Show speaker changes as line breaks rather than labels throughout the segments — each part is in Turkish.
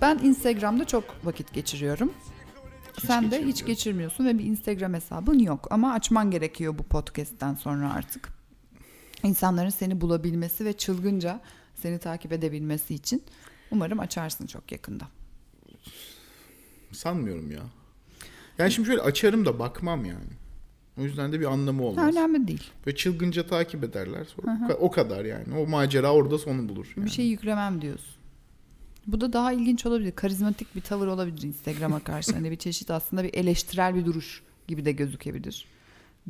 Ben Instagram'da çok vakit geçiriyorum. Sen de hiç
geçirmiyorum.
geçirmiyorsun ve bir Instagram hesabın yok ama açman gerekiyor bu podcast'ten sonra artık. İnsanların seni bulabilmesi ve çılgınca seni takip edebilmesi için umarım açarsın çok yakında.
Sanmıyorum ya. Yani şimdi şöyle açarım da bakmam yani. O yüzden de bir anlamı
Ha,
olmaz.
önemli değil.
Böyle çılgınca takip ederler. Sonra o ka- o kadar yani. O macera orada sonu bulur.
Bir
yani.
şey yüklemem diyorsun. Bu da daha ilginç olabilir. Karizmatik bir tavır olabilir Instagram'a karşı. hani bir çeşit aslında bir eleştirel bir duruş gibi de gözükebilir.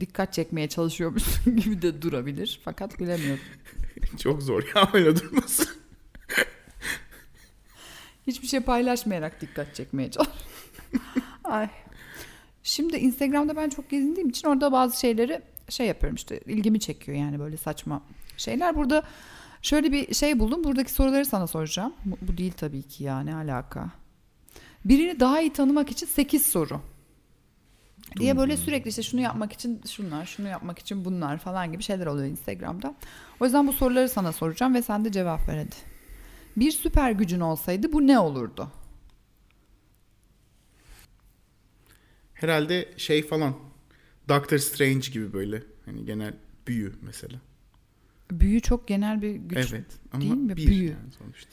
Dikkat çekmeye çalışıyormuşsun gibi de durabilir. Fakat bilemiyorum.
Çok zor ya öyle durması.
Hiçbir şey paylaşmayarak dikkat çekmeye çalış. Ay. Şimdi Instagram'da ben çok gezindiğim için orada bazı şeyleri şey yapıyorum işte ilgimi çekiyor yani böyle saçma şeyler. Burada şöyle bir şey buldum. Buradaki soruları sana soracağım. Bu, bu değil tabii ki ya ne alaka. Birini daha iyi tanımak için 8 soru. Diye böyle sürekli işte şunu yapmak için şunlar, şunu yapmak için bunlar falan gibi şeyler oluyor Instagram'da. O yüzden bu soruları sana soracağım ve sen de cevap ver hadi. Bir süper gücün olsaydı bu ne olurdu?
Herhalde şey falan. Doctor Strange gibi böyle. Hani genel büyü mesela.
Büyü çok genel bir güç.
evet. Ama
değil mi?
bir
Büyü.
yani sonuçta.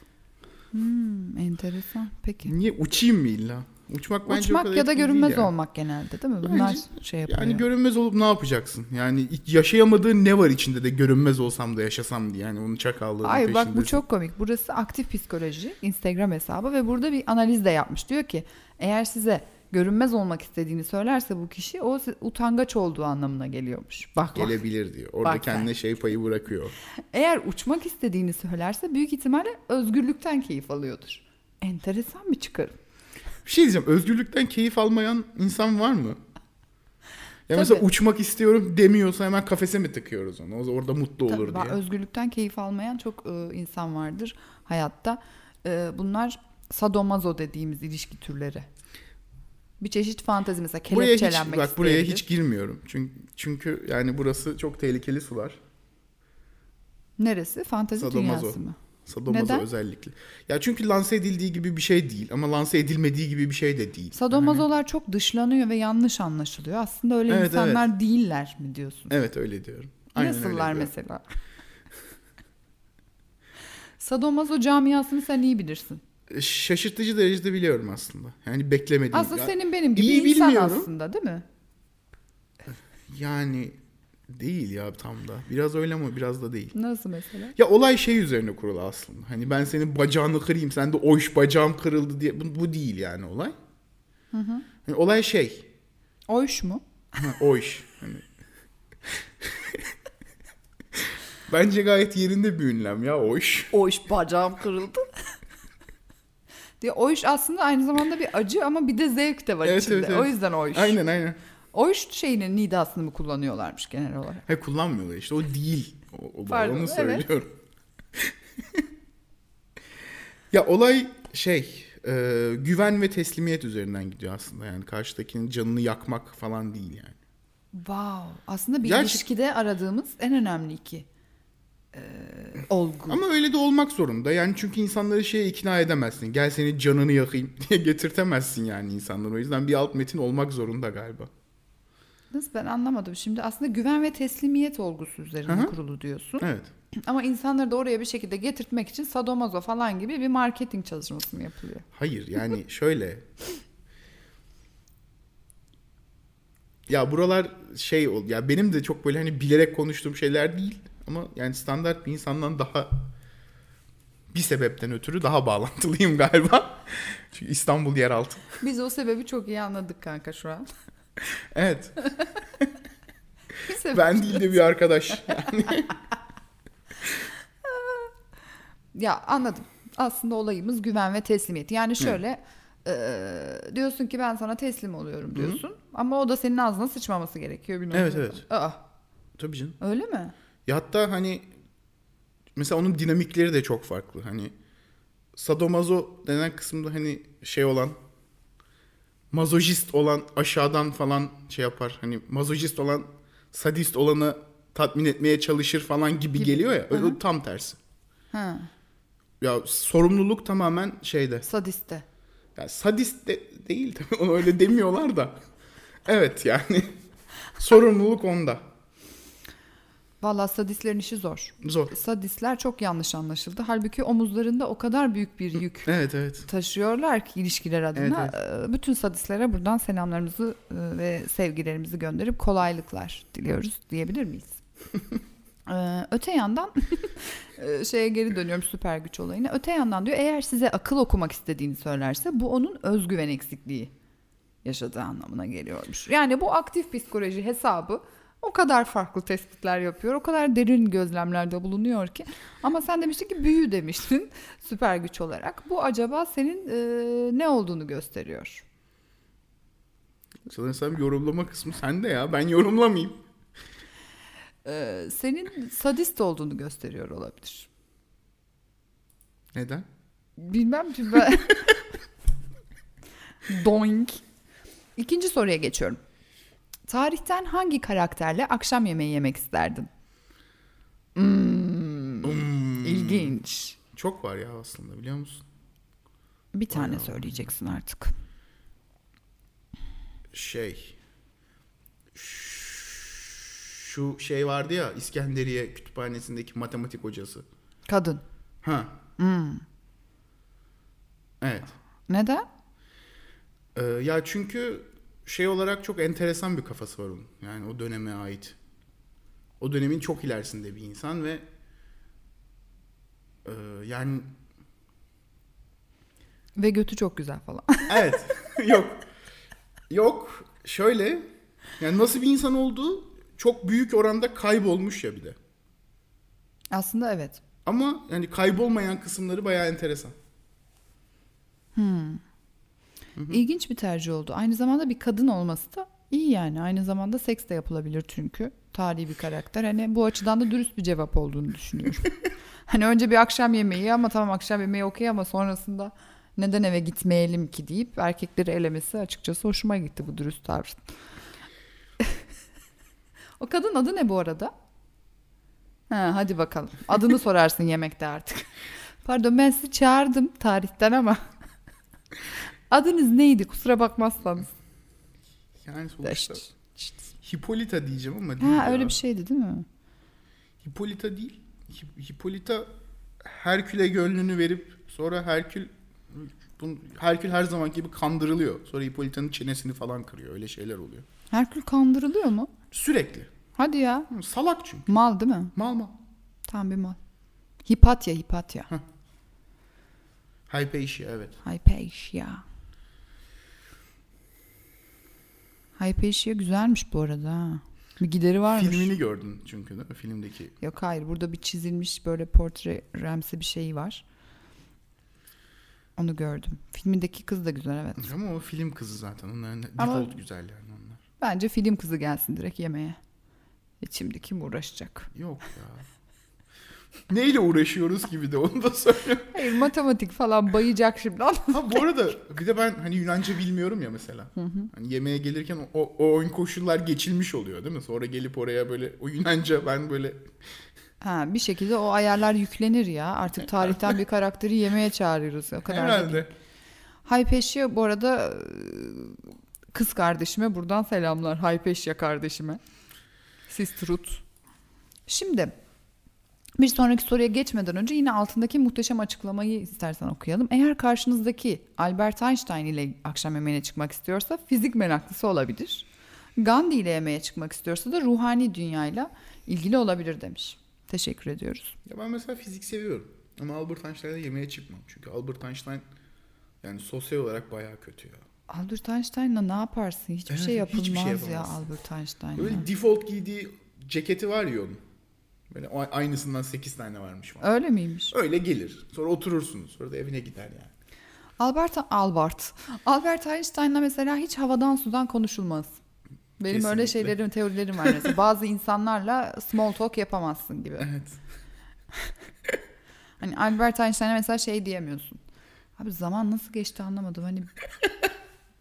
Hmm, enteresan. Peki.
Niye uçayım mı illa? Uçmak bence o
Uçmak
kadar
ya da
etkili değil
görünmez
yani.
olmak genelde değil mi? Bunlar şey yapıyor.
Yani görünmez olup ne yapacaksın? Yani yaşayamadığın ne var içinde de görünmez olsam da yaşasam diye. Yani onun çakallığının
Ay bak bu
peşindesin.
çok komik. Burası aktif psikoloji Instagram hesabı ve burada bir analiz de yapmış. Diyor ki eğer size görünmez olmak istediğini söylerse bu kişi o si- utangaç olduğu anlamına geliyormuş. Bak bak.
gelebilir diyor. Orada
Bak sen.
kendine şey payı bırakıyor.
Eğer uçmak istediğini söylerse büyük ihtimalle özgürlükten keyif alıyordur. Enteresan bir çıkarım.
Bir şey diyeceğim. Özgürlükten keyif almayan insan var mı? Ya mesela
Tabii.
uçmak istiyorum demiyorsa hemen kafese mi tıkıyoruz onu? O- Orada mutlu
Tabii
olur
ben
diye.
Özgürlükten keyif almayan çok e, insan vardır hayatta. E, bunlar sadomazo dediğimiz ilişki türleri. Bir çeşit fantezi mesela
Buraya hiç
kelepçelenmek
bak buraya
isteyebilir.
hiç girmiyorum. Çünkü çünkü yani burası çok tehlikeli sular.
Neresi? Fantezi
Sadomazo.
dünyası mı?
Sadomazo
Neden?
özellikle. Ya çünkü lanse edildiği gibi bir şey değil ama lanse edilmediği gibi bir şey de değil.
Sadomazolar çok dışlanıyor ve yanlış anlaşılıyor. Aslında öyle
Evet,
insanlar değiller mi diyorsun?
Evet öyle diyorum. Aynen öyle
Nasıllar
diyorum.
mesela? Sadomazo camiasını sen iyi bilirsin.
Şaşırtıcı derecede biliyorum aslında. Yani beklemediğim.
Aslında
Ya-
senin benim gibi
iyi
insan
bilmiyorum.
aslında değil mi?
Yani değil ya tam da. Biraz öyle ama biraz da değil.
Nasıl mesela?
Ya olay şey üzerine kurulu aslında. Hani ben senin bacağını kırayım, sen de oyş bacağım kırıldı diye. Bu, bu değil yani olay. Hani olay şey.
Oyş mu?
Ha, oyş. Hani... Bence gayet yerinde bir ünlem ya oyş.
O iş bacağım kırıldı. diye o iş aslında aynı zamanda bir acı ama bir de zevk de var
Evet,
içinde.
evet, evet.
O yüzden o iş.
Aynen aynen.
O iş şeyinin nidasını mı kullanıyorlarmış genel olarak?
Hayır kullanmıyorlar işte o değil. O, o
Pardon,
onu
evet.
söylüyorum. ya olay şey e, güven ve teslimiyet üzerinden gidiyor aslında yani karşıdakinin canını yakmak falan değil yani.
Wow. Aslında bir
Gerçi-
ilişkide aradığımız en önemli iki e, olgu.
Ama öyle de olmak zorunda. Yani çünkü insanları şeye ikna edemezsin. Gel senin canını yakayım diye getirtemezsin yani insanları. O yüzden bir alt metin olmak zorunda galiba.
Nasıl ben anlamadım. Şimdi aslında güven ve teslimiyet olgusu üzerine
Hı hı.
kurulu diyorsun.
Evet.
Ama insanları da oraya bir şekilde getirtmek için sadomazo falan gibi bir marketing çalışması mı yapılıyor?
Hayır yani şöyle. Ya buralar şey ol. Ya benim de çok böyle hani bilerek konuştuğum şeyler değil ama yani standart bir insandan daha bir sebepten ötürü daha bağlantılıyım galiba. Çünkü İstanbul yeraltı.
Biz o sebebi çok iyi anladık kanka şu an.
Evet.
Bir sebep-
Ben değil de bir arkadaş.
Ya anladım. Aslında olayımız güven ve teslimiyet. Yani şöyle e, diyorsun ki ben sana teslim oluyorum diyorsun. Ama o da senin ağzına sıçmaması gerekiyor bir
Evet,
noktada.
evet.
Aa,
Tabii canım.
öyle mi?
Ya hatta hani mesela onun dinamikleri de çok farklı. Hani sadomazo denen kısımda hani şey olan mazojist olan aşağıdan falan şey yapar. Hani mazojist olan sadist olanı tatmin etmeye çalışır falan gibi,
Gibi.
geliyor ya. Öyle
Hı hı.
tam tersi.
Ha,
Ya sorumluluk tamamen şeyde.
sadiste.
Ya sadist de, değil tabii onu öyle demiyorlar da. Evet yani. Sorumluluk onda.
Valla sadistlerin işi zor.
Zor.
Sadistler çok yanlış anlaşıldı. Halbuki omuzlarında o kadar büyük bir yük
Evet evet.
taşıyorlar ki ilişkiler adına. Ee, Bütün sadistlere buradan selamlarımızı e, ve sevgilerimizi gönderip kolaylıklar diliyoruz diyebilir miyiz? Ee, öte yandan e, şeye geri dönüyorum süper güç olayına. Öte yandan diyor eğer size akıl okumak istediğini söylerse bu onun özgüven eksikliği yaşadığı anlamına geliyormuş. Yani bu aktif psikoloji hesabı o kadar farklı tespitler yapıyor. O kadar derin gözlemlerde bulunuyor ki. Ama sen demiştin ki büyü demiştin süper güç olarak. Bu acaba senin e, ne olduğunu gösteriyor.
Sanırsam yorumlama kısmı sende ya. Ben yorumlamayayım.
E, senin sadist olduğunu gösteriyor olabilir.
Neden?
Bilmem ki ben... Doink. İkinci soruya geçiyorum. Tarihten hangi karakterle akşam yemeği yemek isterdin? Hmm, İlginç.
Çok var ya aslında biliyor musun?
Bir tane söyleyeceksin artık.
Şey. Şu şey vardı ya İskenderiye kütüphanesindeki matematik hocası.
Kadın.
Ha. Evet.
Neden?
Ee, ya çünkü şey olarak çok enteresan bir kafası var onun. Yani o döneme ait. O dönemin çok ilerisinde bir insan ve e, yani
Ve götü çok güzel falan.
evet yok yok şöyle yani nasıl bir insan olduğu çok büyük oranda kaybolmuş ya bir de.
Aslında evet.
Ama yani kaybolmayan kısımları bayağı enteresan.
İlginç bir tercih oldu. Aynı zamanda bir kadın olması da iyi yani. Aynı zamanda seks de yapılabilir çünkü. Tarihi bir karakter. Hani bu açıdan da dürüst bir cevap olduğunu düşünüyorum. hani önce bir akşam yemeği ama tamam akşam yemeği okey ama sonrasında neden eve gitmeyelim ki deyip erkekleri elemesi açıkçası hoşuma gitti bu dürüst tavrın. o kadın adı ne bu arada? Ha, hadi bakalım. Adını sorarsın yemekte artık. Pardon ben sizi çağırdım tarihten ama. Adınız neydi kusura bakmazsanız.
Yani sonuçta
Şşt, şşt.
Hipolita diyeceğim ama değil
Ha
ya.
öyle bir şey. şeydi değil mi?
Hipolita değil. Hi- Hipolita Herkül'e gönlünü verip sonra Herkül bun- Herkül her zaman gibi kandırılıyor. Sonra Hipolita'nın çenesini falan kırıyor. Öyle şeyler oluyor.
Herkül kandırılıyor mu?
Sürekli.
Hadi ya.
Salak çünkü.
Mal değil mi?
Mal mal.
Tam bir mal. Hipatya, Hipatya.
Hypatia evet.
Hypatia. Hypatia güzelmiş bu arada. ha. Bir gideri varmış.
Filmini gördün çünkü değil mi? Filmdeki.
Yok hayır burada bir çizilmiş böyle portre remsi bir şeyi var. Onu gördüm. Filmindeki kız da güzel evet.
Ama o film kızı zaten. Onların
Ama-
default güzel yani onlar.
Bence film kızı gelsin direkt yemeğe. E şimdi kim uğraşacak?
Yok ya. Neyle uğraşıyoruz gibi de onu da söyle.
Hayır matematik falan bayacak şimdi.
Ha bu arada bir de ben hani Yunanca bilmiyorum ya mesela. Hani yemeğe gelirken o, o oyun koşullar geçilmiş oluyor değil mi? Sonra gelip oraya böyle o Yunanca ben böyle
Ha, bir şekilde o ayarlar yüklenir ya. Artık tarihten bir karakteri yemeğe çağırıyoruz. O kadar da değil.
herhalde.
Haypeşya bu arada e, kız kardeşime buradan selamlar. Haypeşya kardeşime. Sistrut. Şimdi bir sonraki soruya geçmeden önce yine altındaki muhteşem açıklamayı istersen okuyalım. Eğer karşınızdaki Albert Einstein ile akşam yemeğine çıkmak istiyorsa fizik meraklısı olabilir. Gandhi ile yemeğe çıkmak istiyorsa da ruhani dünyayla ilgili olabilir demiş. Teşekkür ediyoruz.
Ya ben mesela fizik seviyorum. Ama Albert Einstein'la yemeğe çıkmam. Çünkü Albert Einstein yani sosyal olarak bayağı kötü ya.
Albert Einstein'la ne yaparsın? Hiçbir
Evet,
şey
hiçbir
yapılmaz
şey
ya
yapamazsın.
Albert Einstein'la.
Böyle default giydiği ceketi var ya onun. Böyle a- aynısından 8 tane varmış falan.
Öyle miymiş?
Öyle gelir. Sonra oturursunuz. Sonra da evine gider yani.
Albert Albert. Albert Einstein'la mesela hiç havadan sudan konuşulmaz. Benim öyle
Kesinlikle.
şeylerim, teorilerim var mesela. Bazı insanlarla small talk yapamazsın gibi.
Evet.
Hani Albert Einstein'a mesela şey diyemiyorsun. Abi zaman nasıl geçti anlamadım. Hani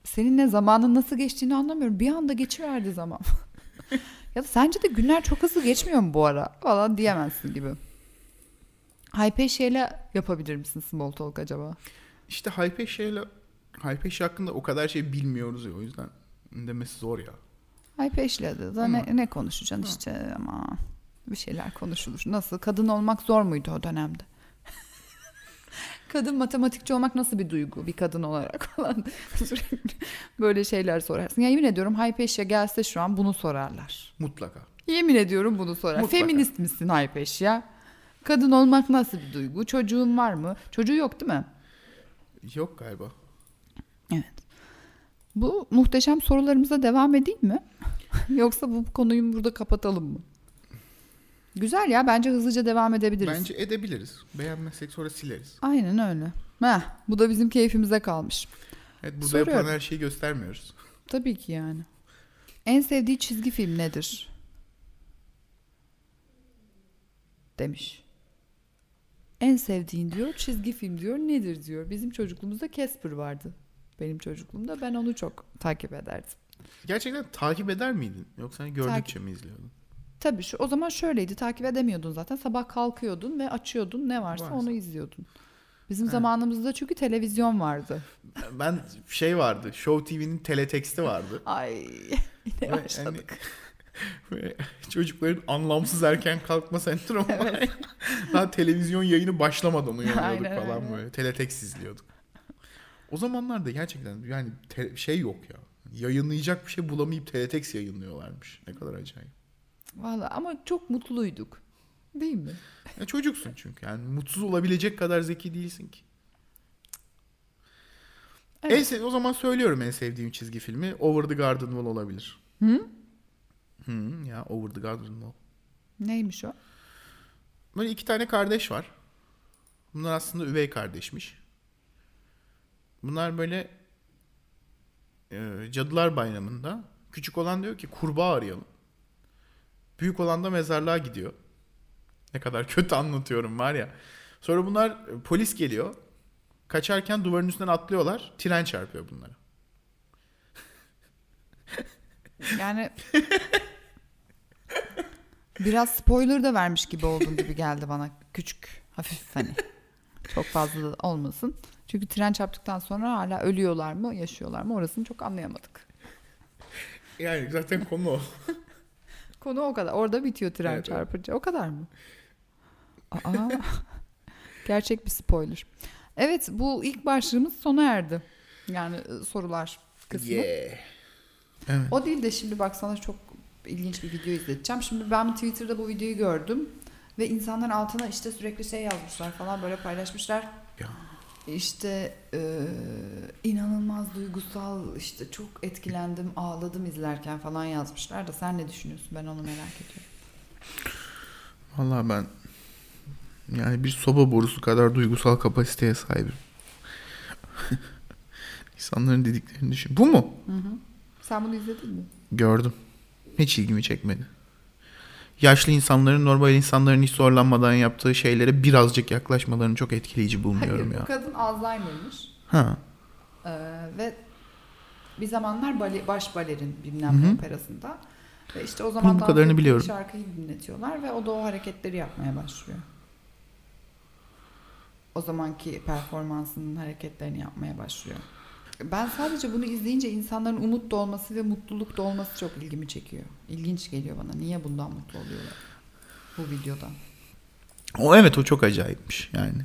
seninle zamanın nasıl geçtiğini anlamıyorum. Bir anda geçiverdi zaman. ya da sence de günler çok hızlı geçmiyor mu bu ara? Falan diyemezsin gibi. Hypeşe'yle yapabilir misin small talk acaba?
İşte Hypeşe'yle Alp Eşi hakkında o kadar şey bilmiyoruz ya o yüzden demesi zor ya.
Alp Eşli adı da ne, ne konuşacaksın işte ama bir şeyler konuşulur. Nasıl? Kadın olmak zor muydu o dönemde? kadın matematikçi olmak nasıl bir duygu bir kadın olarak falan sürekli böyle şeyler sorarsın. Ya yemin ediyorum Haype Eşya gelse şu an bunu sorarlar.
Mutlaka.
Yemin ediyorum bunu sorar.
Mutlaka.
Feminist misin Haype Eşya? Kadın olmak nasıl bir duygu? Çocuğun var mı? Çocuğu yok değil mi?
Yok galiba.
Evet. Bu muhteşem sorularımıza devam edeyim mi? Yoksa bu konuyu burada kapatalım mı? Güzel ya bence hızlıca devam edebiliriz.
Bence edebiliriz. Beğenmezsek sonra sileriz.
Aynen öyle. Heh, bu da bizim keyfimize kalmış.
Evet burada
Soruyorum.
yapılan her şeyi göstermiyoruz.
Tabii ki yani. En sevdiği çizgi film nedir? Demiş. En sevdiğin diyor çizgi film diyor nedir diyor. Bizim çocukluğumuzda Casper vardı. Benim çocukluğumda ben onu çok takip ederdim.
Gerçekten takip eder miydin? Yoksa hani gördükçe
Takip-
mi izliyordun?
Tabii şu o zaman şöyleydi takip edemiyordun zaten. Sabah kalkıyordun ve açıyordun ne varsa
Varsa.
onu izliyordun. Bizim
Evet.
zamanımızda çünkü televizyon vardı.
Ben şey vardı. Show TV'nin teleteksti vardı.
Ay
Ve
yine
hani-
başladık.
Ve çocukların anlamsız erken kalkma sendromu var. Daha televizyon yayını başlamadan uyanıyorduk
Aynen,
falan
aynen.
böyle. Teletext izliyorduk. O zamanlarda gerçekten yani te- şey yok ya. Yayınlayacak bir şey bulamayıp teletext yayınlıyorlarmış. Ne kadar acayip. hani-
Vallahi ama çok mutluyduk. Değil mi?
Ya çocuksun çünkü yani mutsuz olabilecek kadar zeki değilsin ki.
Evet.
En sev- o zaman söylüyorum en sevdiğim çizgi filmi Over the Garden Wall olabilir.
Hı?
Hı, ya Over the Garden Wall.
Neymiş o?
Böyle iki tane kardeş var. Bunlar aslında üvey kardeşmiş. Bunlar böyle e, Cadılar Bayramı'nda küçük olan diyor ki kurbağa arayalım. Büyük olan da mezarlığa gidiyor. Ne kadar kötü anlatıyorum var ya. Sonra bunlar e, polis geliyor. Kaçarken duvarın üstünden atlıyorlar. Tren çarpıyor bunlara.
Yani biraz spoiler da vermiş gibi oldun gibi geldi bana. Küçük, hafif hani. Çok fazla da olmasın. Çünkü tren çarptıktan sonra hala ölüyorlar mı, yaşıyorlar mı orasını çok anlayamadık.
Yani zaten konu o.
Konu o kadar. Orada bitiyor tren
Evet,
çarpınca. O kadar mı? Aa. Gerçek bir spoiler. Evet bu ilk başlığımız sona erdi. Yani e, sorular kısmı.
Yeah. Evet.
O değil de şimdi bak sana çok ilginç bir video izleteceğim. Şimdi ben Twitter'da bu videoyu gördüm. Ve insanlar altına işte sürekli şey yazmışlar falan böyle paylaşmışlar.
Ya.
İşte e, inanılmaz duygusal işte çok etkilendim ağladım izlerken falan yazmışlar da sen ne düşünüyorsun ben onu merak ediyorum.
Vallahi ben yani bir soba borusu kadar duygusal kapasiteye sahibim. İnsanların dediklerini düşün. Bu mu?
Sen bunu izledin mi?
Gördüm. Hiç ilgimi çekmedi. Yaşlı insanların normal insanların hiç zorlanmadan yaptığı şeylere birazcık yaklaşmalarını çok etkileyici bulmuyorum
Hayır bu
ya.
kadın Alzheimer'mış.
Ha.
Ee, ve bir zamanlar bale, baş balerin
Hı
bilmem
hı.
ne operasında. Ve işte o zaman
bu kadarını
dans ettiği
biliyorum.
şarkıyı dinletiyorlar ve o da o hareketleri yapmaya başlıyor. O zamanki performansının hareketlerini yapmaya başlıyor. Ben sadece bunu izleyince insanların umut da olması ve mutluluk da olması çok ilgimi çekiyor. İlginç geliyor bana. Niye bundan mutlu oluyorlar bu videoda?
O evet o çok acayipmiş yani.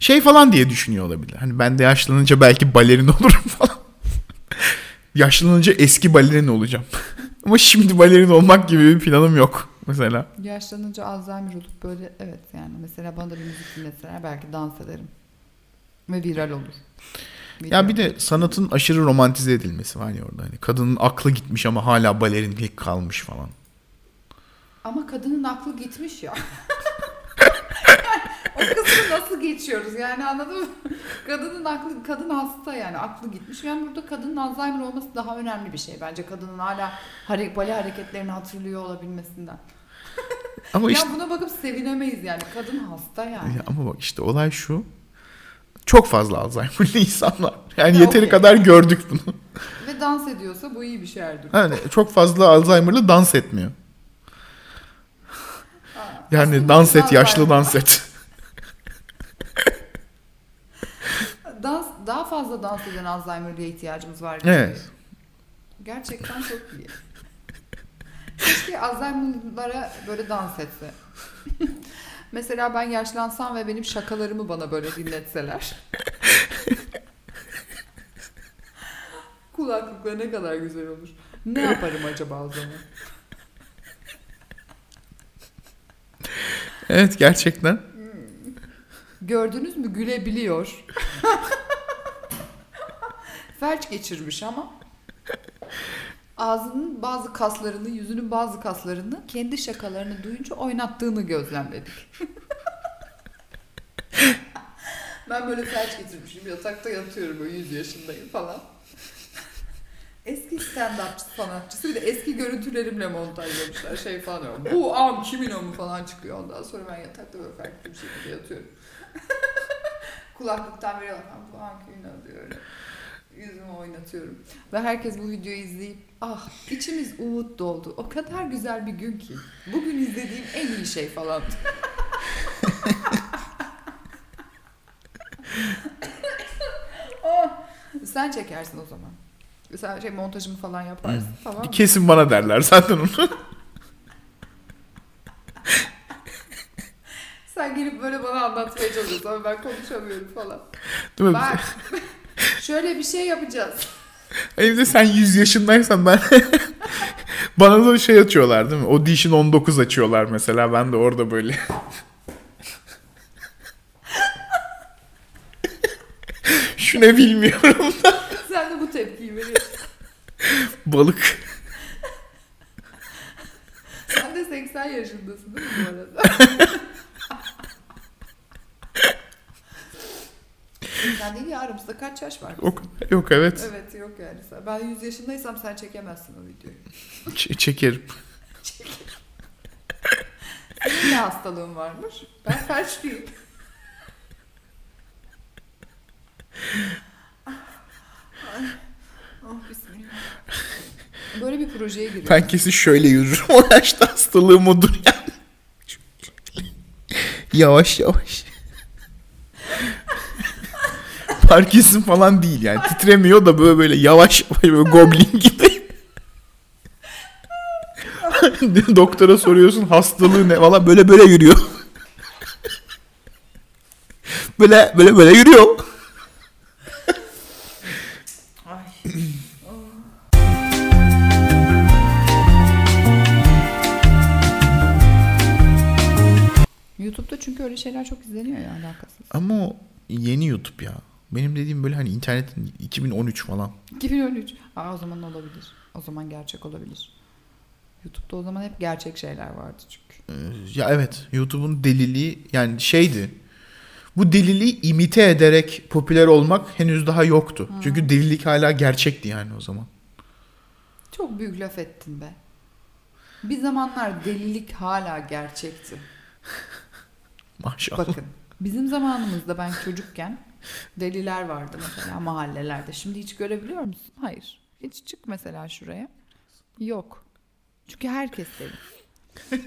Şey falan diye düşünüyor olabilir. Hani ben de yaşlanınca belki balerin olurum falan. yaşlanınca eski balerin olacağım. Ama şimdi balerin olmak gibi bir planım yok mesela.
Yaşlanınca Alzheimer olup böyle evet yani mesela bana da bir müzik dinleseler belki dans ederim. Ve viral olur. Video.
Ya bir de sanatın aşırı romantize edilmesi var ya orada. Hani kadının aklı gitmiş ama hala balerinlik kalmış falan.
Ama kadının aklı gitmiş ya. yani o kısmı nasıl geçiyoruz yani anladın mı? Kadının aklı, kadın hasta yani aklı gitmiş. Yani burada kadının Alzheimer olması daha önemli bir şey. Bence kadının hala hare, bale hareketlerini hatırlıyor olabilmesinden.
Ama işte
Ya buna bakıp sevinemeyiz yani. Kadın hasta yani.
ya ama bak işte olay şu. Çok fazla Alzheimer'lı insanlar. Yani
Ya
yeteri
okey.
kadar gördük bunu.
Ve dans ediyorsa bu iyi bir şey Erdoğan.
Yani çok fazla Alzheimer'lı dans etmiyor. Yani dans et, yaşlı dans et.
Dans daha fazla dans eden Alzheimer'lıya ihtiyacımız var. gibi.
Evet.
Gerçekten çok iyi. Keşke Alzheimer'lara böyle dans etse. Mesela ben yaşlansam ve benim şakalarımı bana böyle dinletseler. Kulaklıkları ne kadar güzel olur. Ne yaparım acaba o zaman?
Evet gerçekten.
Gördünüz mü gülebiliyor. Felç geçirmiş ama ağzının bazı kaslarını, yüzünün bazı kaslarını kendi şakalarını duyunca oynattığını gözlemledik. ben böyle felç geçirmişim, yatakta yatıyorum böyle 100 yaşındayım falan. Eski stand-upçı sanatçısı bir de eski görüntülerimle montajlamışlar şey falan. diyor. Bu am kimin amı falan çıkıyor ondan sonra ben yatakta böyle farklı bir şekilde yatıyorum. Kulaklıktan veriyorlar "Ha, bu am kimin amı diyor öyle. Yüzümü oynatıyorum. Ve herkes bu videoyu izleyip ah içimiz umut doldu. O kadar güzel bir gün ki. Bugün izlediğim en iyi şey falan. Ah, sen çekersin o zaman. Sen şey montajımı falan yaparsın. Tamam mı?
Kesin bana derler zaten onu.
Sen gelip böyle bana anlatmaya çalışıyorsun ama ben konuşamıyorum falan.
Değil mi?
Bak şöyle bir şey yapacağız.
Hani bir de sen 100 yaşındaysan ben... bana da şey açıyorlar değil mi? Audition 19 açıyorlar mesela. Ben de orada böyle... Şu ne bilmiyorum.
Sen de bu tepkiyi veriyorsun.
Balık.
Sen de 80 yaşındasın değil mi bu arada? Sen değil ya aramızda kaç yaş var?
Yok, yok evet.
Evet yok yani. Sen- Ben 100 yaşındaysam sen çekemezsin o videoyu.
Ç- çekerim.
Senin ne hastalığın varmış? Ben felçliyim. Ah, Ay, Oh bismillah. Böyle bir projeye giriyorum.
Ben kesin şöyle yürürüm. O yaşta hastalığım odur yani. yavaş yavaş. Parkinson falan değil yani. Titremiyor da böyle böyle yavaş yavaş böyle goblin gibi. Doktora soruyorsun hastalığı ne falan böyle böyle yürüyor. böyle böyle böyle yürüyor.
Ay. YouTube'da çünkü öyle şeyler çok izleniyor ya alakasız.
Ama o yeni YouTube ya. Benim dediğim böyle hani internetin 2013 falan.
2013. Aa o zaman olabilir. O zaman gerçek olabilir. YouTube'da o zaman hep gerçek şeyler vardı çünkü.
Ee, Ya evet YouTube'un deliliği yani şeydi. Bu deliliği imite ederek popüler olmak henüz daha yoktu. Çünkü delilik hala gerçekti yani o zaman.
Çok büyük laf ettin be. Bir zamanlar delilik hala gerçekti.
Maşallah.
Bakın bizim zamanımızda ben çocukken deliler vardı mesela mahallelerde. Şimdi hiç görebiliyor musun? Hayır. Hiç çık mesela şuraya. Yok. Çünkü herkes deli.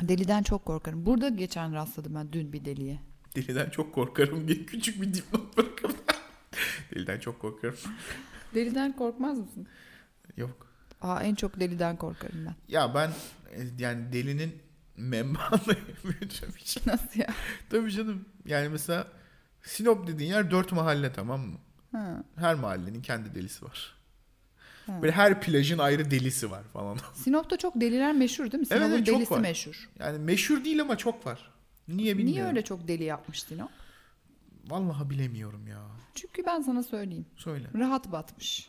Deliden çok korkarım. Burada geçen rastladım ben dün bir deliye.
Deliden çok korkarım diye küçük bir dipnot bırakıp. Deliden çok korkarım.
Deliden korkmaz mısın?
Yok.
Aa en çok deliden korkarım ben.
Ya ben e, yani delinin membranı büyütmemiş.
Nasıl ya?
Tabii canım. Yani mesela Sinop dediğin yer dört mahalle tamam mı?
Ha,
Her mahallenin kendi delisi var.
ha.
Böyle her plajın ayrı delisi var falan.
Sinop'ta çok deliler meşhur değil mi?
Evet,
Sinop'un
evet, çok
delisi
var.
meşhur.
Yani meşhur değil ama çok var. Niye bilmiyorum.
Niye öyle çok deli yapmış Sinop?
Vallahi bilemiyorum ya.
Çünkü ben sana söyleyeyim.
Söyle.
Rahat batmış.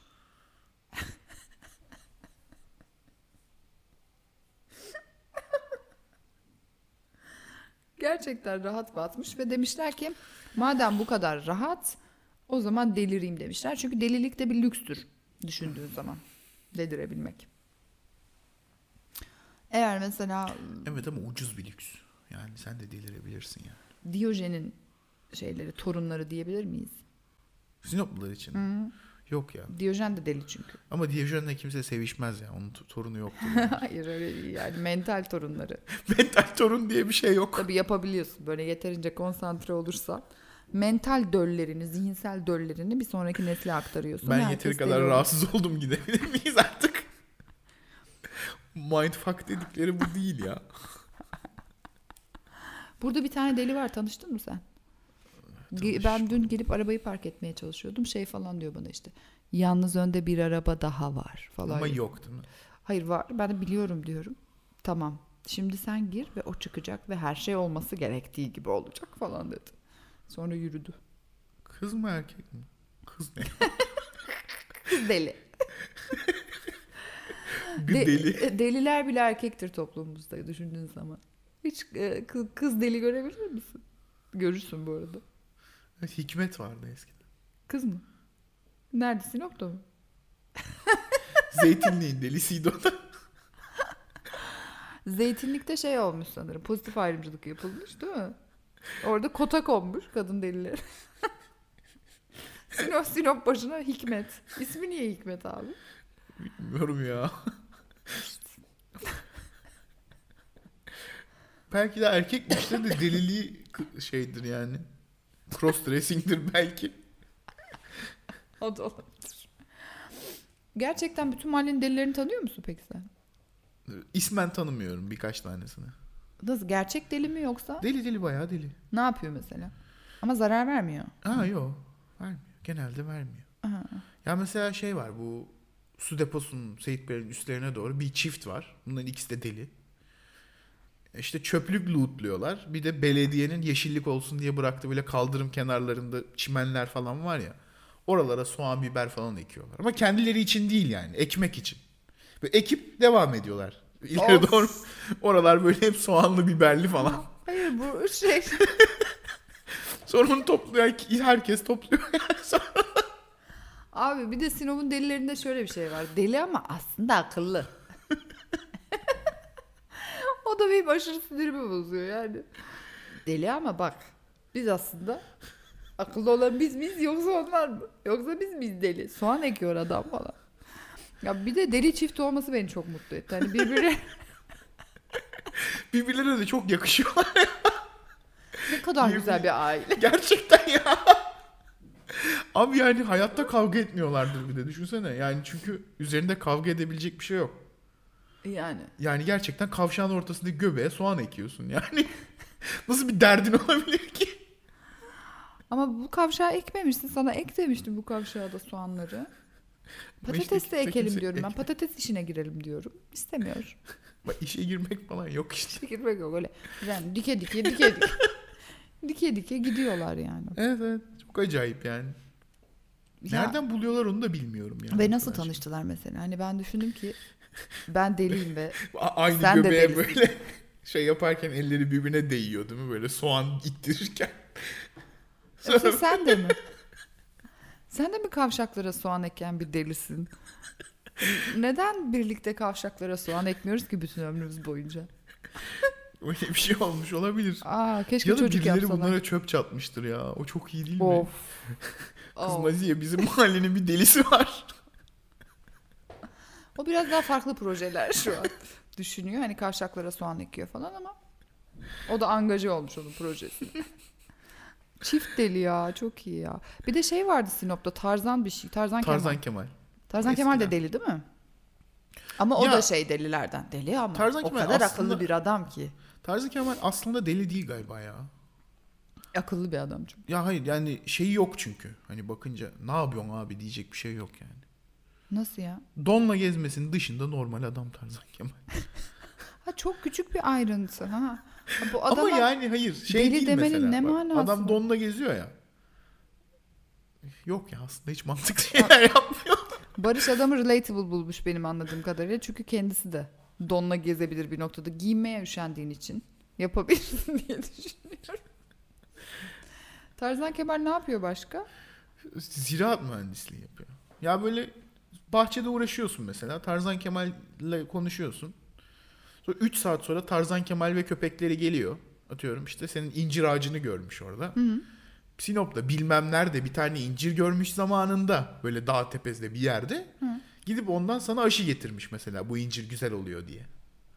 Gerçekten rahat batmış ve demişler ki madem bu kadar rahat o zaman delireyim demişler. Çünkü delilik de bir lükstür düşündüğün zaman delirebilmek. Eğer mesela
Evet ama ucuz bir lüks. Yani sen de delirebilirsin yani.
Diyojen'in şeyleri torunları diyebilir miyiz?
Sinoplular için. Yok ya.
Diyojen de deli çünkü.
Ama Diyojen'le kimse sevişmez ya. Onun to- torunu yoktur.
Hayır öyle değil yani mental torunları.
Mental torun diye bir şey yok.
Tabii yapabiliyorsun böyle yeterince konsantre olursan. mental döllerini, zihinsel döllerini bir sonraki nesle aktarıyorsun.
Ben
Herkes
yeteri kadar
seviyor.
rahatsız oldum gidebilir miyiz artık? Mindfuck dedikleri bu değil ya.
Burada bir tane deli var tanıştın mı sen? Ge- Ben dün gelip arabayı park etmeye çalışıyordum. Şey falan diyor bana işte. Yalnız önde bir araba daha var falan.
Ama yok değil mi?
Hayır var. Ben de biliyorum diyorum. Tamam. Şimdi sen gir ve o çıkacak ve her şey olması gerektiği gibi olacak falan dedi. Sonra yürüdü.
Kız mı erkek mi? Kız ne?
Kız deli.
Bir
De-
deli.
e, Deliler bile erkektir toplumumuzda düşündüğün zaman. Hiç e, kız, kız deli görebilir misin? Görürsün bu arada.
Evet, Hikmet vardı eskiden.
Kız mı? Nerede Sinop'ta mı?
Zeytinliğin delisiydi o da.
Zeytinlik'te şey olmuş sanırım. Pozitif ayrımcılık yapılmış değil mi? Orada kota konmuş kadın delileri. Sinop Sinop başına Hikmet. İsmi niye Hikmet abi?
Bilmiyorum ya. belki de erkekmiştir de deliliği k- şeydir yani. Cross dressing'dir belki.
O da olabilir. Gerçekten bütün mahallenin delilerini tanıyor musun peki sen?
İsmen tanımıyorum birkaç tanesini.
Nasıl gerçek deli mi yoksa?
Deli deli bayağı deli.
Ne yapıyor mesela? Ama zarar vermiyor.
Ha yok. Vermiyor. Genelde vermiyor.
Aha.
Ya mesela şey var bu su deposunun Seyitbey'in üstlerine doğru bir çift var. Bunların ikisi de deli. İşte çöplük lootluyorlar. Bir de belediyenin yeşillik olsun diye bıraktığı böyle kaldırım kenarlarında çimenler falan var ya. Oralara soğan biber falan ekiyorlar. Ama kendileri için değil yani. Ekmek için. Ve ekip devam ediyorlar. İleri
Of.
doğru. Oralar böyle hep soğanlı biberli falan.
Hayır bu şey
Sonra onu topluyor. Herkes topluyor. Sonra-
Abi bir de Sinop'un delilerinde şöyle bir şey var. Deli ama aslında akıllı. o da benim aşırı sinirimi bozuyor yani. Deli ama bak biz aslında akıllı olan biz miyiz yoksa onlar mı? Yoksa biz miyiz deli? Soğan ekiyor adam falan. Ya bir de deli çift olması beni çok mutlu etti. Hani birbirine
Birbirlerine de çok yakışıyor.
ne kadar güzel bir aile.
Gerçekten ya. Abi yani hayatta kavga etmiyorlardır bir de düşünsene. Yani çünkü üzerinde kavga edebilecek bir şey yok.
Yani
Yani gerçekten kavşağın ortasında göbeğe soğan ekiyorsun yani. Nasıl bir derdin olabilir ki?
ama bu kavşağı ekmemişsin. Sana ek demiştim bu kavşağa da soğanları.
Ama işte
Patates de
kimse
ekelim
kimse
diyorum. Ben
ekmiyor.
patates işine girelim diyorum. İstemiyor.
Bak işe girmek falan yok işte.
Çekirmek yok öyle. Yani dike dike dike dike. dike dike gidiyorlar yani.
Evet evet. Çok acayip yani.
Ya
Nereden buluyorlar onu da bilmiyorum yani.
Ve nasıl
Arkadaş.
tanıştılar mesela? Hani ben düşündüm ki ben deliyim ve
A- Aynı
Sen de
göbeğe
delisin.
böyle şey yaparken elleri birbirine değiyor değil mi? Böyle soğan ittirirken.
Öpü, sen de mi? Sen de mi kavşaklara soğan eken bir delisin? Neden birlikte kavşaklara soğan ekmiyoruz ki bütün ömrümüz boyunca?
Öyle bir şey olmuş olabilir.
Aa keşke
Ya da
çocuk
birileri
yapsalar.
bunlara çöp çatmıştır ya. O çok iyi değil mi?
Of. Oh.
Kız
Of.
Naziye bizim mahallenin bir delisi var.
O biraz daha farklı projeler şu an düşünüyor. Hani kavşaklara soğan ekiyor falan ama o da angaje olmuş onun projesine. Çift deli ya çok iyi ya. Bir de şey vardı Sinop'ta Tarzan bir şey. Tarzan, Kemal.
Tarzan Kemal.
Tarzan Kemal de deli değil mi? Ama o
Ya-
da şey delilerden. Deli ama
Tarzan
o
Kemal
kadar
aslında-
akıllı bir adam ki.
Tarzan Kemal aslında deli değil galiba ya.
Akıllı bir adam çünkü.
Ya hayır yani şeyi yok çünkü. Hani bakınca ne yapıyorsun abi diyecek bir şey yok yani.
Nasıl ya?
Donla gezmesinin dışında normal adam Tarzan Kemal.
Ha çok küçük bir ayrıntı ha. Ha, Bu
Ama
adama
yani hayır şey
deli
değil
demenin
mesela.
ne
Bak,
manası
Adam
var?
donla geziyor ya. Yok ya aslında hiç mantıklı şeyler yapmıyor.
Barış adamı relatable bulmuş benim anladığım kadarıyla. Çünkü kendisi de donla gezebilir bir noktada. Giyinmeye üşendiğin için yapabilirsin diye düşünüyorum. Tarzan Kemal ne yapıyor başka?
Ziraat mühendisliği yapıyor. Ya böyle bahçede uğraşıyorsun mesela. Tarzan Kemal'le konuşuyorsun. Sonra 3 saat sonra Tarzan Kemal ve köpekleri geliyor. Atıyorum işte senin incir ağacını görmüş orada. Sinop'ta bilmem nerede bir tane incir görmüş zamanında. Böyle dağ tepesinde bir yerde. Gidip ondan sana aşı getirmiş mesela bu incir güzel oluyor diye.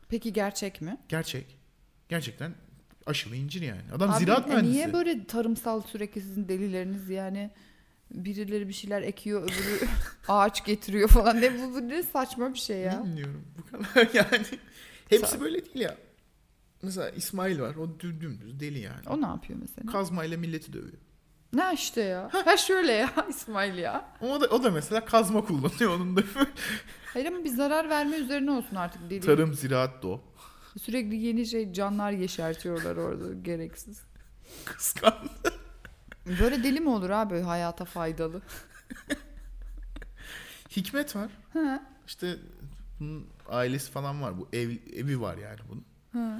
Peki gerçek mi?
Gerçek. Gerçekten Aşılı incir yani. Adam
Abi
ziraat
ne-
mühendisi.
Niye böyle tarımsal sürekli sizin delileriniz yani? Birileri bir şeyler ekiyor, öbürü ağaç getiriyor falan. Ne bu, bu ne saçma bir şey ya.
Bilmiyorum bu kadar yani. Hepsi
Sa-
böyle değil ya. Mesela İsmail var o dü- dümdüz deli yani.
O ne yapıyor mesela?
Kazmayla milleti dövüyor.
Ne işte ya. Ha şöyle ya İsmail ya.
Ama o da, o da mesela kazma kullanıyor onun da.
Hayır ama bir zarar verme üzerine olsun artık deli.
Tarım, ziraat, do.
Sürekli yeni şey canlar yeşertiyorlar orada gereksiz.
Kıskan.
Böyle deli mi olur abi hayata faydalı?
Hikmet var.
Ha,
İşte bunun ailesi falan var. Bu ev, evi var yani bunun.
ha.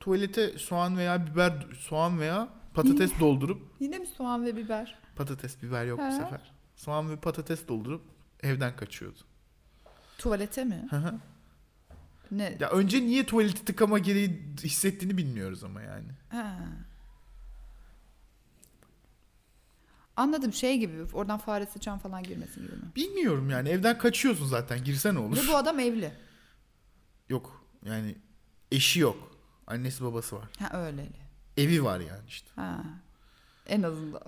Tuvalete soğan veya biber, soğan veya patates doldurup
Yine mi soğan ve biber?
patates biber yok
Ha.
bu sefer. Soğan ve patates doldurup evden kaçıyordu.
Tuvalete mi?
Hı hı.
Ne?
ya önce niye tuvaleti tıkama gereği hissettiğini bilmiyoruz ama yani.
Ha. Anladım şey gibi oradan fare sıçan falan girmesin gibi mi?
Bilmiyorum yani evden kaçıyorsun zaten girsen olur.
Ve bu adam evli.
Yok yani eşi yok. Annesi babası var.
Ha öyle öyle.
Evi var yani işte.
Ha. En azından.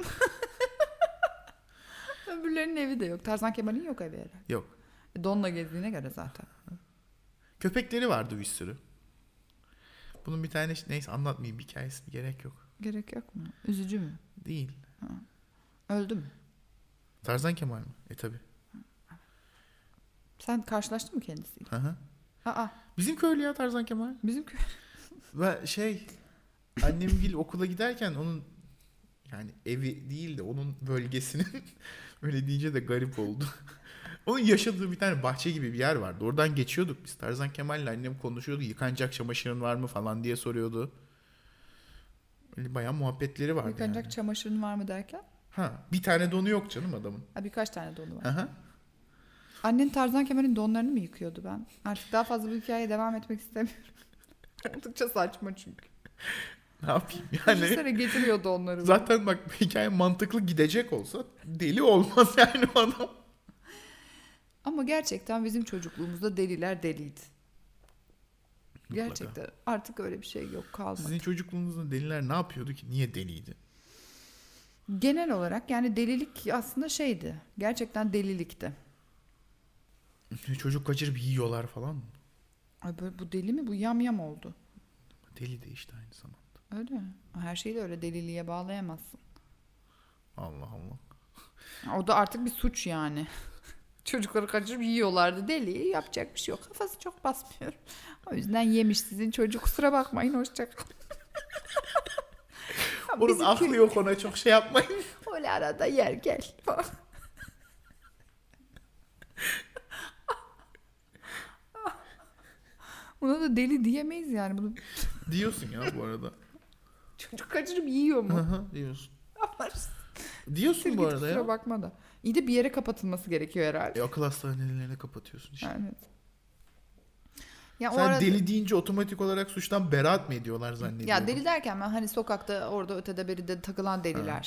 Öbürlerinin evi de yok. Tarzan Kemal'in yok evi herhalde. E,
Yok.
Donla gezdiğine göre zaten.
Köpekleri vardı bir sürü. Bunun bir tane neyse anlatmayayım hikayesi gerek yok.
Gerek yok mu? Üzücü mü?
Değil.
Öldü mü?
Tarzan Kemal mi? E tabi.
Sen karşılaştın mı kendisiyle?
Hı hı.
Aa
Bizim köylü ya Tarzan Kemal.
bizim kö-
Ve şey annemgil okula giderken onun yani evi değil de onun bölgesinin öyle deyince de garip oldu. Onun yaşadığı bir tane bahçe gibi bir yer vardı. Oradan geçiyorduk biz. Tarzan Kemal'le annem konuşuyordu. Yıkanacak çamaşırın var mı falan diye soruyordu. Öyle bayağı muhabbetleri vardı
Yıkanacak
yani.
çamaşırın var mı derken?
Ha, bir tane donu yok canım adamın.
Ha, birkaç tane donu var.
Aha.
Annen Tarzan Kemal'in donlarını mı yıkıyordu ben? Artık daha fazla bu hikayeye devam etmek istemiyorum. Oldukça saçma çünkü.
Ne yapayım yani?
Düşünsene getiriyor donları.
Zaten bak hikaye mantıklı gidecek olsa deli olmaz yani o adam.
Ama gerçekten bizim çocukluğumuzda deliler deliydi.
Mutlaka.
Gerçekten artık öyle bir şey yok kalmadı.
Sizin çocukluğunuzda deliler ne yapıyordu ki? Niye deliydi?
Genel olarak yani delilik aslında şeydi. Gerçekten delilikti.
Çocuk kaçırıp yiyorlar falan mı?
Ay böyle bu deli mi? Bu yam yam oldu.
Deli de işte aynı zamanda.
Öyle mi? Her şeyi de öyle deliliğe bağlayamazsın.
Allah Allah.
O da artık bir suç yani. Çocukları kaçırıp yiyorlardı deli. Yapacak bir şey yok. Kafası çok basmıyor. O yüzden yemiş sizin çocuk. Kusura bakmayın hoşçakalın.
Onun aklı yok ona çok şey yapmayın.
Öyle arada yer gel. Buna da deli diyemeyiz yani. Bunu
Diyorsun ya bu arada.
çocuk kaçırıp yiyor
Hı
mu?
hı, diyorsun.
Ama
Diyorsun
Sil
bu
git,
arada
kusura
ya.
bakma da. İyi de bir yere kapatılması gerekiyor herhalde.
E, akıl hastanelerine kapatıyorsun işte.
Evet. Ya o
Sen
arada-
deli deyince otomatik olarak suçtan beraat mı ediyorlar zannediyorsun?
Ya deli derken ben hani sokakta orada ötede beride takılan delilerden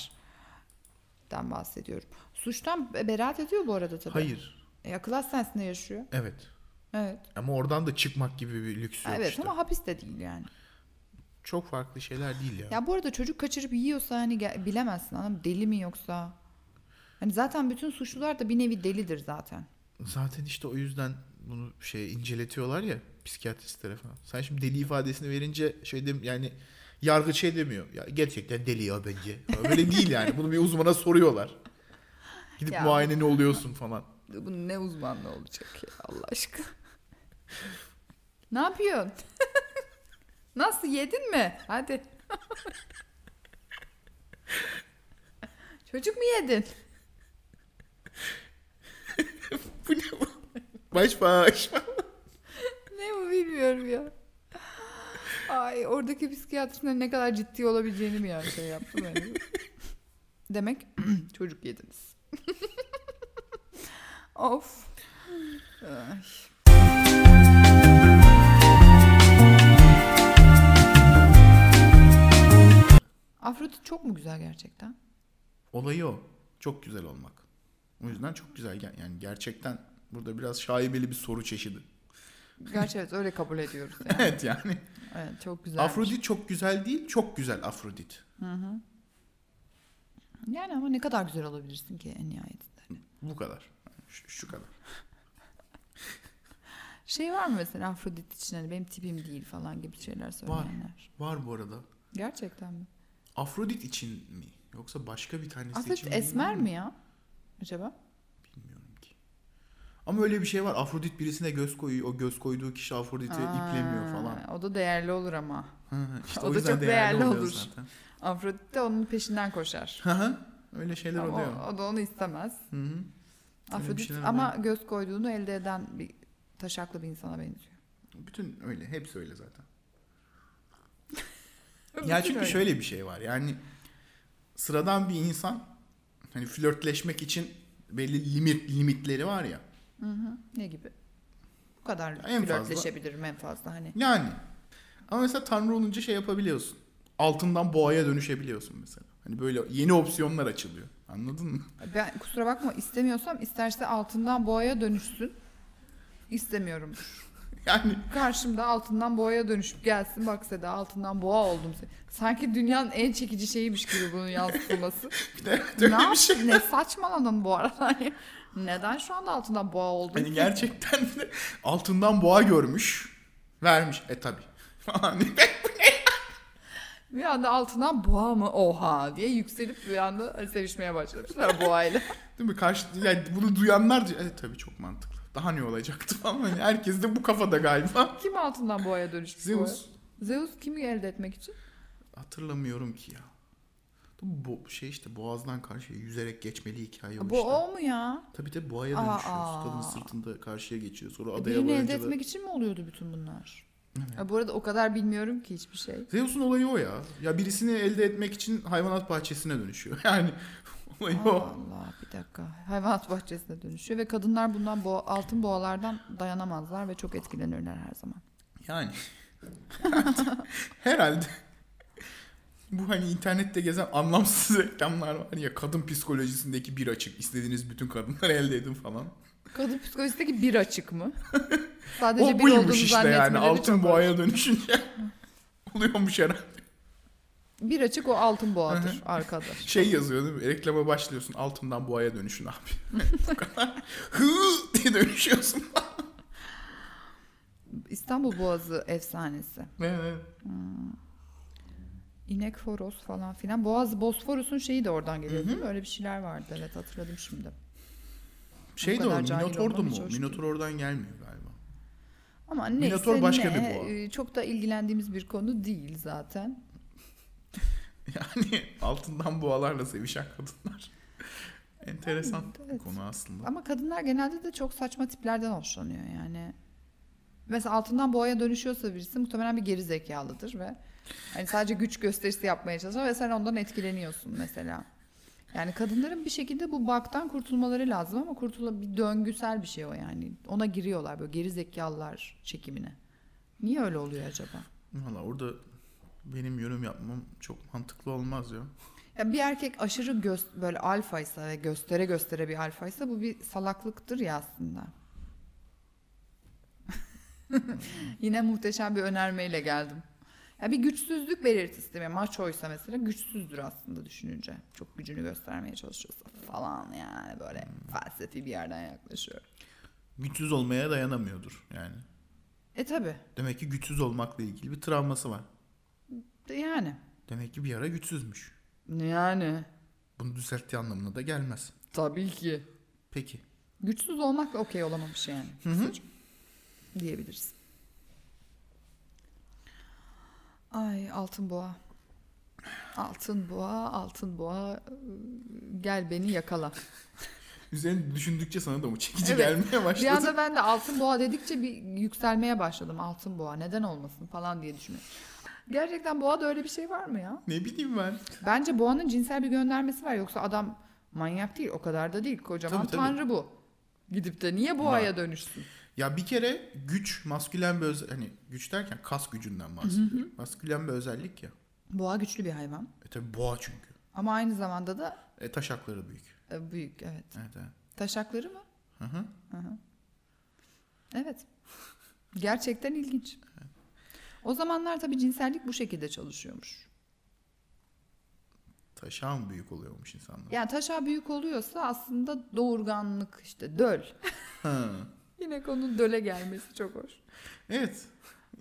bahsediyorum. Suçtan be- beraat ediyor bu arada tabii.
Hayır.
E, akıl hastanesinde yaşıyor.
Evet.
Evet.
Ama oradan da çıkmak gibi bir lüks yok
evet
işte.
ama hapis de değil yani.
Çok farklı şeyler değil ya.
Ya bu arada çocuk kaçırıp yiyorsa hani ge- bilemezsin anam deli mi yoksa. Hani zaten bütün suçlular da bir nevi delidir zaten.
Zaten işte o yüzden bunu şey inceletiyorlar ya psikiyatristlere falan. Sen şimdi deli ifadesini verince şey dem yani yargıç şey demiyor. Ya gerçekten deli ya bence. Böyle değil yani. Bunu bir uzmana soruyorlar. Gidip
Ya.
muayene ne oluyorsun falan.
Bunun ne uzmanlığı olacak ya Allah aşkına. ne yapıyorsun? Nasıl yedin mi? Hadi. Çocuk mu yedin?
Bu ne bu? Baş baş.
Ne bu bilmiyorum ya. Ay oradaki psikiyatristlerin ne kadar ciddi olabileceğini bir şey yaptım. Yani. Demek çocuk yediniz. of. Ay. Afrodit çok mu güzel gerçekten?
Olayı o. Çok güzel olmak. O yüzden çok güzel. Ger- Yani gerçekten burada biraz şaibeli bir soru çeşidi.
Gerçi evet öyle kabul ediyoruz. Yani.
evet yani.
Evet, çok güzel.
Afrodit çok güzel değil, çok güzel Afrodit.
Yani ama ne kadar güzel olabilirsin ki en nihayetinde.
Bu kadar. Şu, şu kadar.
Şey var mı mesela Afrodit için hani benim tipim değil falan gibi şeyler söyleyenler.
Var bu arada.
Gerçekten mi?
Afrodit için mi? Yoksa başka bir tanesi
Afrodit
için mi?
esmer
bilmiyorum.
mi ya? Acaba?
Bilmiyorum ki. Ama öyle bir şey var. Afrodit birisine göz koyuyor. O göz koyduğu kişi Afrodit'i
Aa,
iplemiyor falan.
O da değerli olur ama.
işte
O
o,
da
yüzden
çok
değerli,
değerli
oluyor
olur.
zaten.
Afrodit de onun peşinden koşar.
Hı hı. öyle şeyler
Ama
oluyor.
o, o da onu istemez.
Hı hı. Öyle bir
Afrodit
şeyler
ama göz koyduğunu elde eden bir taşaklı bir insana benziyor.
Bütün öyle. Hepsi öyle zaten.
Bütün
Ya çünkü
öyle.
şöyle bir şey var. Yani sıradan bir insan hani flörtleşmek için belli limit limitleri var ya.
Hı hı. Ne gibi? Bu kadar
En fazla.
flörtleşebilirim en fazla hani.
Yani ama mesela tanrı olunca şey yapabiliyorsun. Altından boğaya dönüşebiliyorsun mesela. Hani böyle yeni opsiyonlar açılıyor. Anladın mı?
Ben kusura bakma istemiyorsam isterse altından boğaya dönüşsün. İstemiyorum.
Yani
Karşımda altından boğaya dönüşüp gelsin bak Seda altından boğa oldum. Sanki dünyanın en çekici şeyiymiş gibi bunun yansıtılması.
bir de evet,
ne
öyle bir şey.
yaptın? Ne saçmaladın bu arada? Hani Neden şu anda altından boğa oldun?
Hani gerçekten de altından boğa görmüş. Vermiş. E tabi. Falan diye.
Bir anda altından boğa mı oha diye yükselip bir anda sevişmeye başlamışlar boğayla.
Değil mi? Karşı, yani bunu duyanlar diyor, e tabi çok mantıklı. Daha ne olacaktı falan. Hani herkes de bu kafada galiba.
Kim altından boğaya dönüşmüş? bu arada?
Zeus
Zeus kimi elde etmek için?
Hatırlamıyorum ki ya. Bu bu şey işte boğazdan karşıya yüzerek geçmeli hikaye o
Bu
işte.
o mu ya?
Tabii tabii boğaya
Aa.
dönüşüyoruz. Kadın sırtında karşıya geçiyor. Sonra
E,
adaya
Birini elde
varınca da-
etmek için mi oluyordu bütün bunlar?
Evet.
Ya bu arada o kadar bilmiyorum ki hiçbir şey.
Zeus'un olayı o ya. Ya birisini elde etmek için hayvanat bahçesine dönüşüyor. Yani olayı
Allah
o.
Allah bir dakika. Hayvanat bahçesine dönüşüyor ve kadınlar bundan boğa, altın boğalardan dayanamazlar ve çok etkilenirler her zaman.
Yani. Herhalde. Bu hani internette gezen anlamsız reklamlar var ya kadın psikolojisindeki bir açık istediğiniz bütün kadınları elde edin falan.
Kadın psikolojisindeki bir açık mı?
O
Sadece bir olduğunu
buymuş işte
zannetmeleri
yani altın
çok
boğaya dönüşünce oluyormuş herhalde.
Bir açık o altın boğadır
Hı
arkadaş.
Şey yazıyor değil mi? Reklama başlıyorsun altından boğaya dönüşün abi. Bu kadar. Hı diye dönüşüyorsun.
İstanbul Boğazı efsanesi.
Evet.
İnek foros falan filan. Boğaz Bosforus'un şeyi de oradan geliyor değil mi? Öyle bir şeyler vardı. Evet hatırladım şimdi.
şey de o
kadar cahil
Minotor'du
olmam hiç
mu?
hoş
Minotor oradan gelmiyor galiba.
Ama neyse
Minotor başka
ne,
bir boğa.
e, çok da ilgilendiğimiz bir konu değil zaten.
Yani altından boğalarla sevişen kadınlar. Enteresan bir
Evet.
konu aslında.
Ama kadınlar genelde de çok saçma tiplerden hoşlanıyor yani. Mesela altından boğaya dönüşüyorsa birisi muhtemelen bir geri zekalıdır ve hani sadece güç gösterisi yapmaya çalışır ve sen ondan etkileniyorsun mesela. Yani kadınların bir şekilde bu baktan kurtulmaları lazım ama kurtula bir döngüsel bir şey o yani. Ona giriyorlar böyle geri zekalılar çekimine. Niye öyle oluyor acaba?
Valla orada benim yorum yapmam çok mantıklı olmaz ya.
Ya bir erkek aşırı göz, böyle alfaysa ve göstere göstere bir alfaysa bu bir salaklıktır ya aslında. Yine muhteşem bir önermeyle geldim. Ya bir güçsüzlük belirtisi değil mi? Maçoysa mesela güçsüzdür aslında düşününce. Çok gücünü göstermeye çalışıyorsa falan yani böyle felsefi bir yerden yaklaşıyor.
Güçsüz olmaya dayanamıyordur yani.
E tabi
Demek ki güçsüz olmakla ilgili bir travması var.
yani.
Demek ki bir ara güçsüzmüş.
Yani
Bunu düzelttiği anlamına da gelmez.
tabii ki.
Peki.
Güçsüz olmakla okey olamamış yani. kısaca Diyebiliriz. Ay altın boğa. Altın boğa, altın boğa ıı, gel beni yakala.
Üzerine düşündükçe sana da mı çekici
Evet.
gelmeye
Bir
başladı?
anda ben de altın boğa dedikçe bir yükselmeye başladım. Altın boğa neden olmasın falan diye düşünüyorum. Gerçekten boğada öyle bir şey var mı ya?
Ne bileyim ben.
Bence boğanın cinsel bir göndermesi var. Yoksa adam manyak değil o kadar da değil. Kocaman
Tabii, tabii.
tanrı bu. Gidip de niye boğaya dönüşsün?
Ya bir kere güç, maskülen bir özellik. Hani güç derken kas gücünden bahsediyorum. Maskülen bir özellik ya.
Boğa güçlü bir hayvan.
E tabi boğa çünkü.
Ama aynı zamanda da
E taşakları büyük.
e, büyük evet.
Evet evet.
Taşakları mı?
Hı hı.
Evet. Gerçekten ilginç. O zamanlar tabii cinsellik bu şekilde çalışıyormuş.
Taşağı mı büyük oluyormuş insanlar?
Yani taşa büyük oluyorsa aslında doğurganlık işte döl.
Ha.
Yine konunun döle gelmesi çok hoş.
Evet.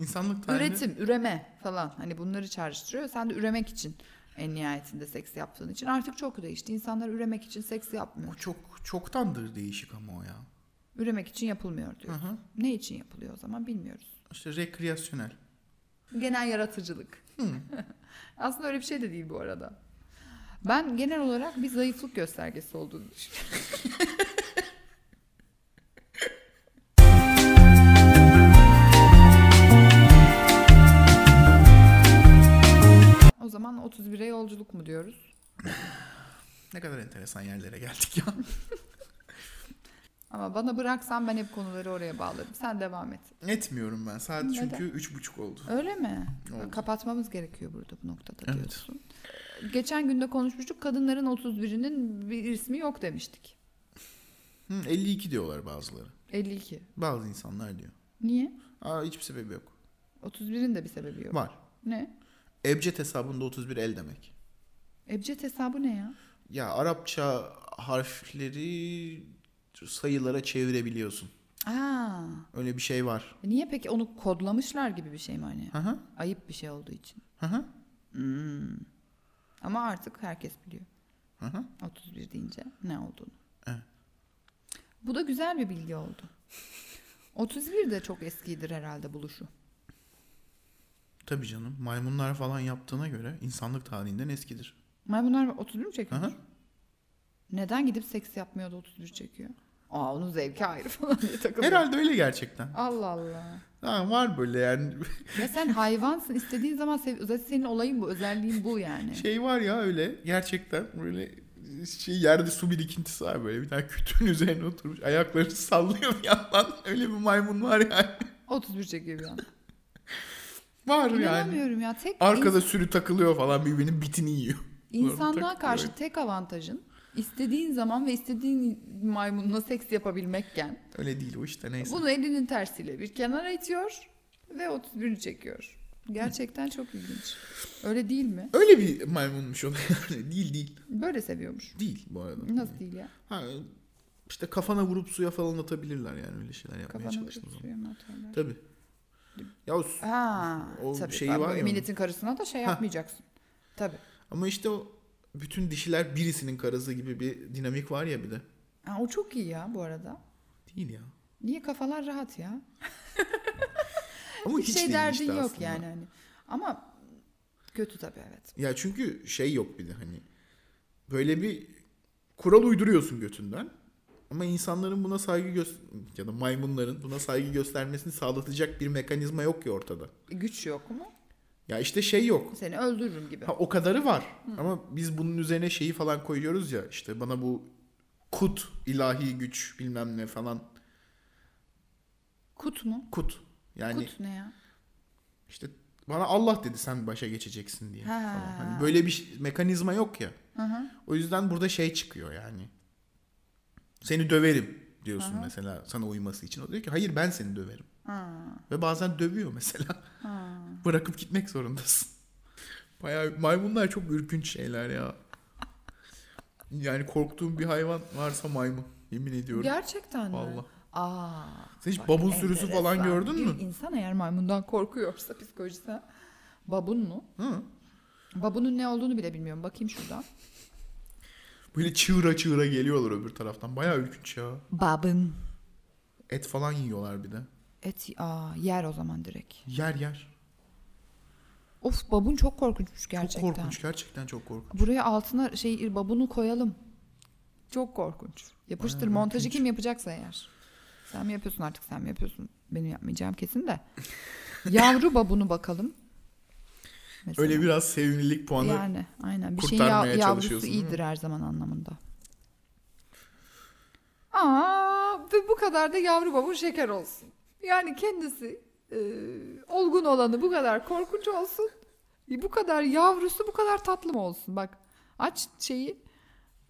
İnsanlık tarihine...
Üretim, üreme falan hani bunları çağrıştırıyor. Sen de üremek için en nihayetinde seks yaptığın için artık çok değişti. İnsanlar üremek için seks yapmıyor.
O çok çoktandır değişik ama o ya.
Üremek için yapılmıyor
Hı
diyor.
hı.
Ne için yapılıyor o zaman bilmiyoruz.
İşte rekreasyonel.
Genel yaratıcılık. Aslında öyle bir şey de değil bu arada. Ben genel olarak bir zayıflık göstergesi olduğunu düşünüyorum. O zaman 31'e yolculuk mu diyoruz?
Ne kadar enteresan yerlere geldik ya.
Ama bana bıraksan ben hep konuları oraya bağlarım. Sen devam et.
Etmiyorum ben. Saat
Neden?
çünkü üç buçuk oldu.
Öyle mi?
Oldu.
Kapatmamız gerekiyor burada bu noktada
Evet.
diyorsun. Geçen günde konuşmuştuk. Kadınların 31'inin bir ismi yok demiştik.
Hı, 52 diyorlar bazıları.
52.
Bazı insanlar diyor.
Niye?
Aa hiçbir sebebi yok.
31'in de bir sebebi yok.
Var.
Ne?
Ebced hesabında 31 el demek.
Ebced hesabı ne ya?
Ya Arapça harfleri sayılara çevirebiliyorsun.
Aa,
Öyle bir şey var.
niye peki onu kodlamışlar gibi bir şey mi hani?
Hı hı.
Ayıp bir şey olduğu için.
Hı hı.
Hmm. Ama artık herkes biliyor.
Hı hı.
31 deyince ne olduğunu.
Evet.
Bu da güzel bir bilgi oldu. 31 de çok eskidir herhalde buluşu.
Tabii canım. Maymunlar falan yaptığına göre insanlık tarihinden eskidir.
Maymunlar 31 mi
Hı
çekiyor?
hı.
Neden gidip seks yapmıyor da 31 çekiyor? Aa onun zevki ayrı falan diye takılıyor.
Herhalde öyle gerçekten.
Allah Allah.
Ha, var böyle yani
Ya sen hayvansın istediğin zaman sev- zaten senin olayın bu özelliğin bu yani.
şey var ya öyle gerçekten böyle şey yerde su birikintisi var böyle bir tane kütüğün üzerine oturmuş ayaklarını sallıyor bir yandan öyle bir maymun var yani.
31 çekiyor bir an.
Var yani.
İnanamıyorum ya tek
Arkada sürü takılıyor falan birbirinin bitini yiyor.
in- insanlığa
takılıyor.
karşı tek avantajın istediğin zaman ve istediğin maymunla seks yapabilmekken
Öyle değil o işte neyse.
bunu elinin tersiyle bir kenara itiyor ve 31'ü çekiyor. Gerçekten çok ilginç. Öyle değil mi?
Öyle bir maymunmuş o da yani. değil değil.
Böyle seviyormuş.
Değil bu arada.
Nasıl değil ya?
Ha, işte kafana vurup suya falan atabilirler yani öyle şeyler yapmaya
Kafana vurup
çalıştığınız zaman.
suya mı atarlar?
Tabii. Ya o su-
Ha,
O
tabii.
şeyi
Ben
var
böyle
ya onun.
Milletin karısına da şey
Ha.
yapmayacaksın. Tabii.
ama işte o bütün dişiler birisinin karısı gibi bir dinamik var ya bir de.
Ha, o çok iyi ya bu arada.
Değil ya.
Niye kafalar rahat ya?
Ama
Bir
hiç
şey
değil
derdin
işte
yok
aslında.
yani hani. Ama kötü tabii evet.
Ya çünkü şey yok bir de hani böyle bir kural uyduruyorsun götünden. Ama insanların buna saygı göz ya da maymunların buna saygı göstermesini sağlatacak bir mekanizma yok ki ortada.
E, Güç yok mu?
Ya işte şey yok.
Seni öldürürüm gibi.
Ha, o kadarı var. Ama biz bunun üzerine şeyi falan koyuyoruz ya işte bana bu kut ilahi güç bilmem ne falan
Kut mu?
kut. Yani
Kut ne ya?
işte bana Allah dedi sen başa geçeceksin diye.
Ha.
Falan. Hani böyle bir ş- mekanizma yok ya.
Hı hı.
O yüzden burada şey çıkıyor yani. Seni döverim diyorsun
Aha.
mesela sana uyması için. O diyor ki hayır ben seni döverim.
Ha,
Ve bazen dövüyor mesela.
ha.
Bırakıp gitmek zorundasın. Bayağı maymunlar çok ürkünç şeyler ya. Yani korktuğum bir hayvan varsa maymun. Yemin ediyorum.
Gerçekten mi?
Vallahi.
Aa,
Sen hiç
bak,
babun sürüsü falan
enteresan.
gördün mü?
Bir İnsan eğer maymundan korkuyorsa psikolojisi. Babun mu?
Hı.
Babunun ne olduğunu bile bilmiyorum. Bakayım şuradan.
Böyle çığıra çığıra geliyorlar öbür taraftan. Bayağı ürkünç ya.
Babın.
Et falan yiyorlar bir de.
Et aa, yer o zaman direkt.
Yer yer.
Of babun çok korkunçmuş gerçekten.
Çok korkunç. Gerçekten çok korkunç.
Buraya altına şey babunu koyalım. Çok korkunç. Yapıştır
Bayağı
montajı
korkunç.
kim yapacaksa eğer. Sen mi yapıyorsun artık sen mi yapıyorsun? Benim yapmayacağım kesin de. Yavru babunu bakalım. Mesela.
Öyle biraz sevimlilik puanı
Yani aynen bir şeyin
kurtarmaya
yav- yavrusu
çalışıyorsun, değil
iyidir her zaman anlamında. Aa, ve bu kadar da yavru babun şeker olsun. Yani kendisi e, olgun olanı bu kadar korkunç olsun. E, Bu kadar yavrusu bu kadar tatlı mı olsun? Bak aç şeyi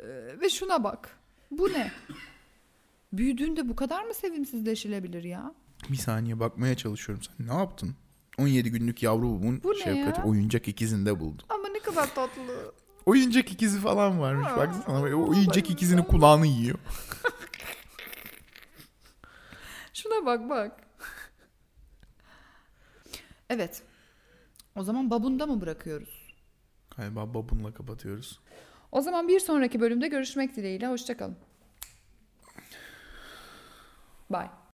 e, ve şuna bak. Bu ne? Büyüdüğünde bu kadar mı sevimsizleşilebilir ya?
Bir saniye bakmaya çalışıyorum. Sen ne yaptın? 17 günlük yavrumun
Bu ne
şefkati
ya?
oyuncak ikizinde buldum.
Ama ne kadar tatlı.
Oyuncak ikizi falan varmış.
Aa,
Baksana böyle o
olabilir.
oyuncak ikizinin kulağını yiyor.
Şuna bak bak. Evet. O zaman babunda mı bırakıyoruz?
Galiba babunla kapatıyoruz.
O zaman bir sonraki bölümde görüşmek dileğiyle. Hoşçakalın. Bye.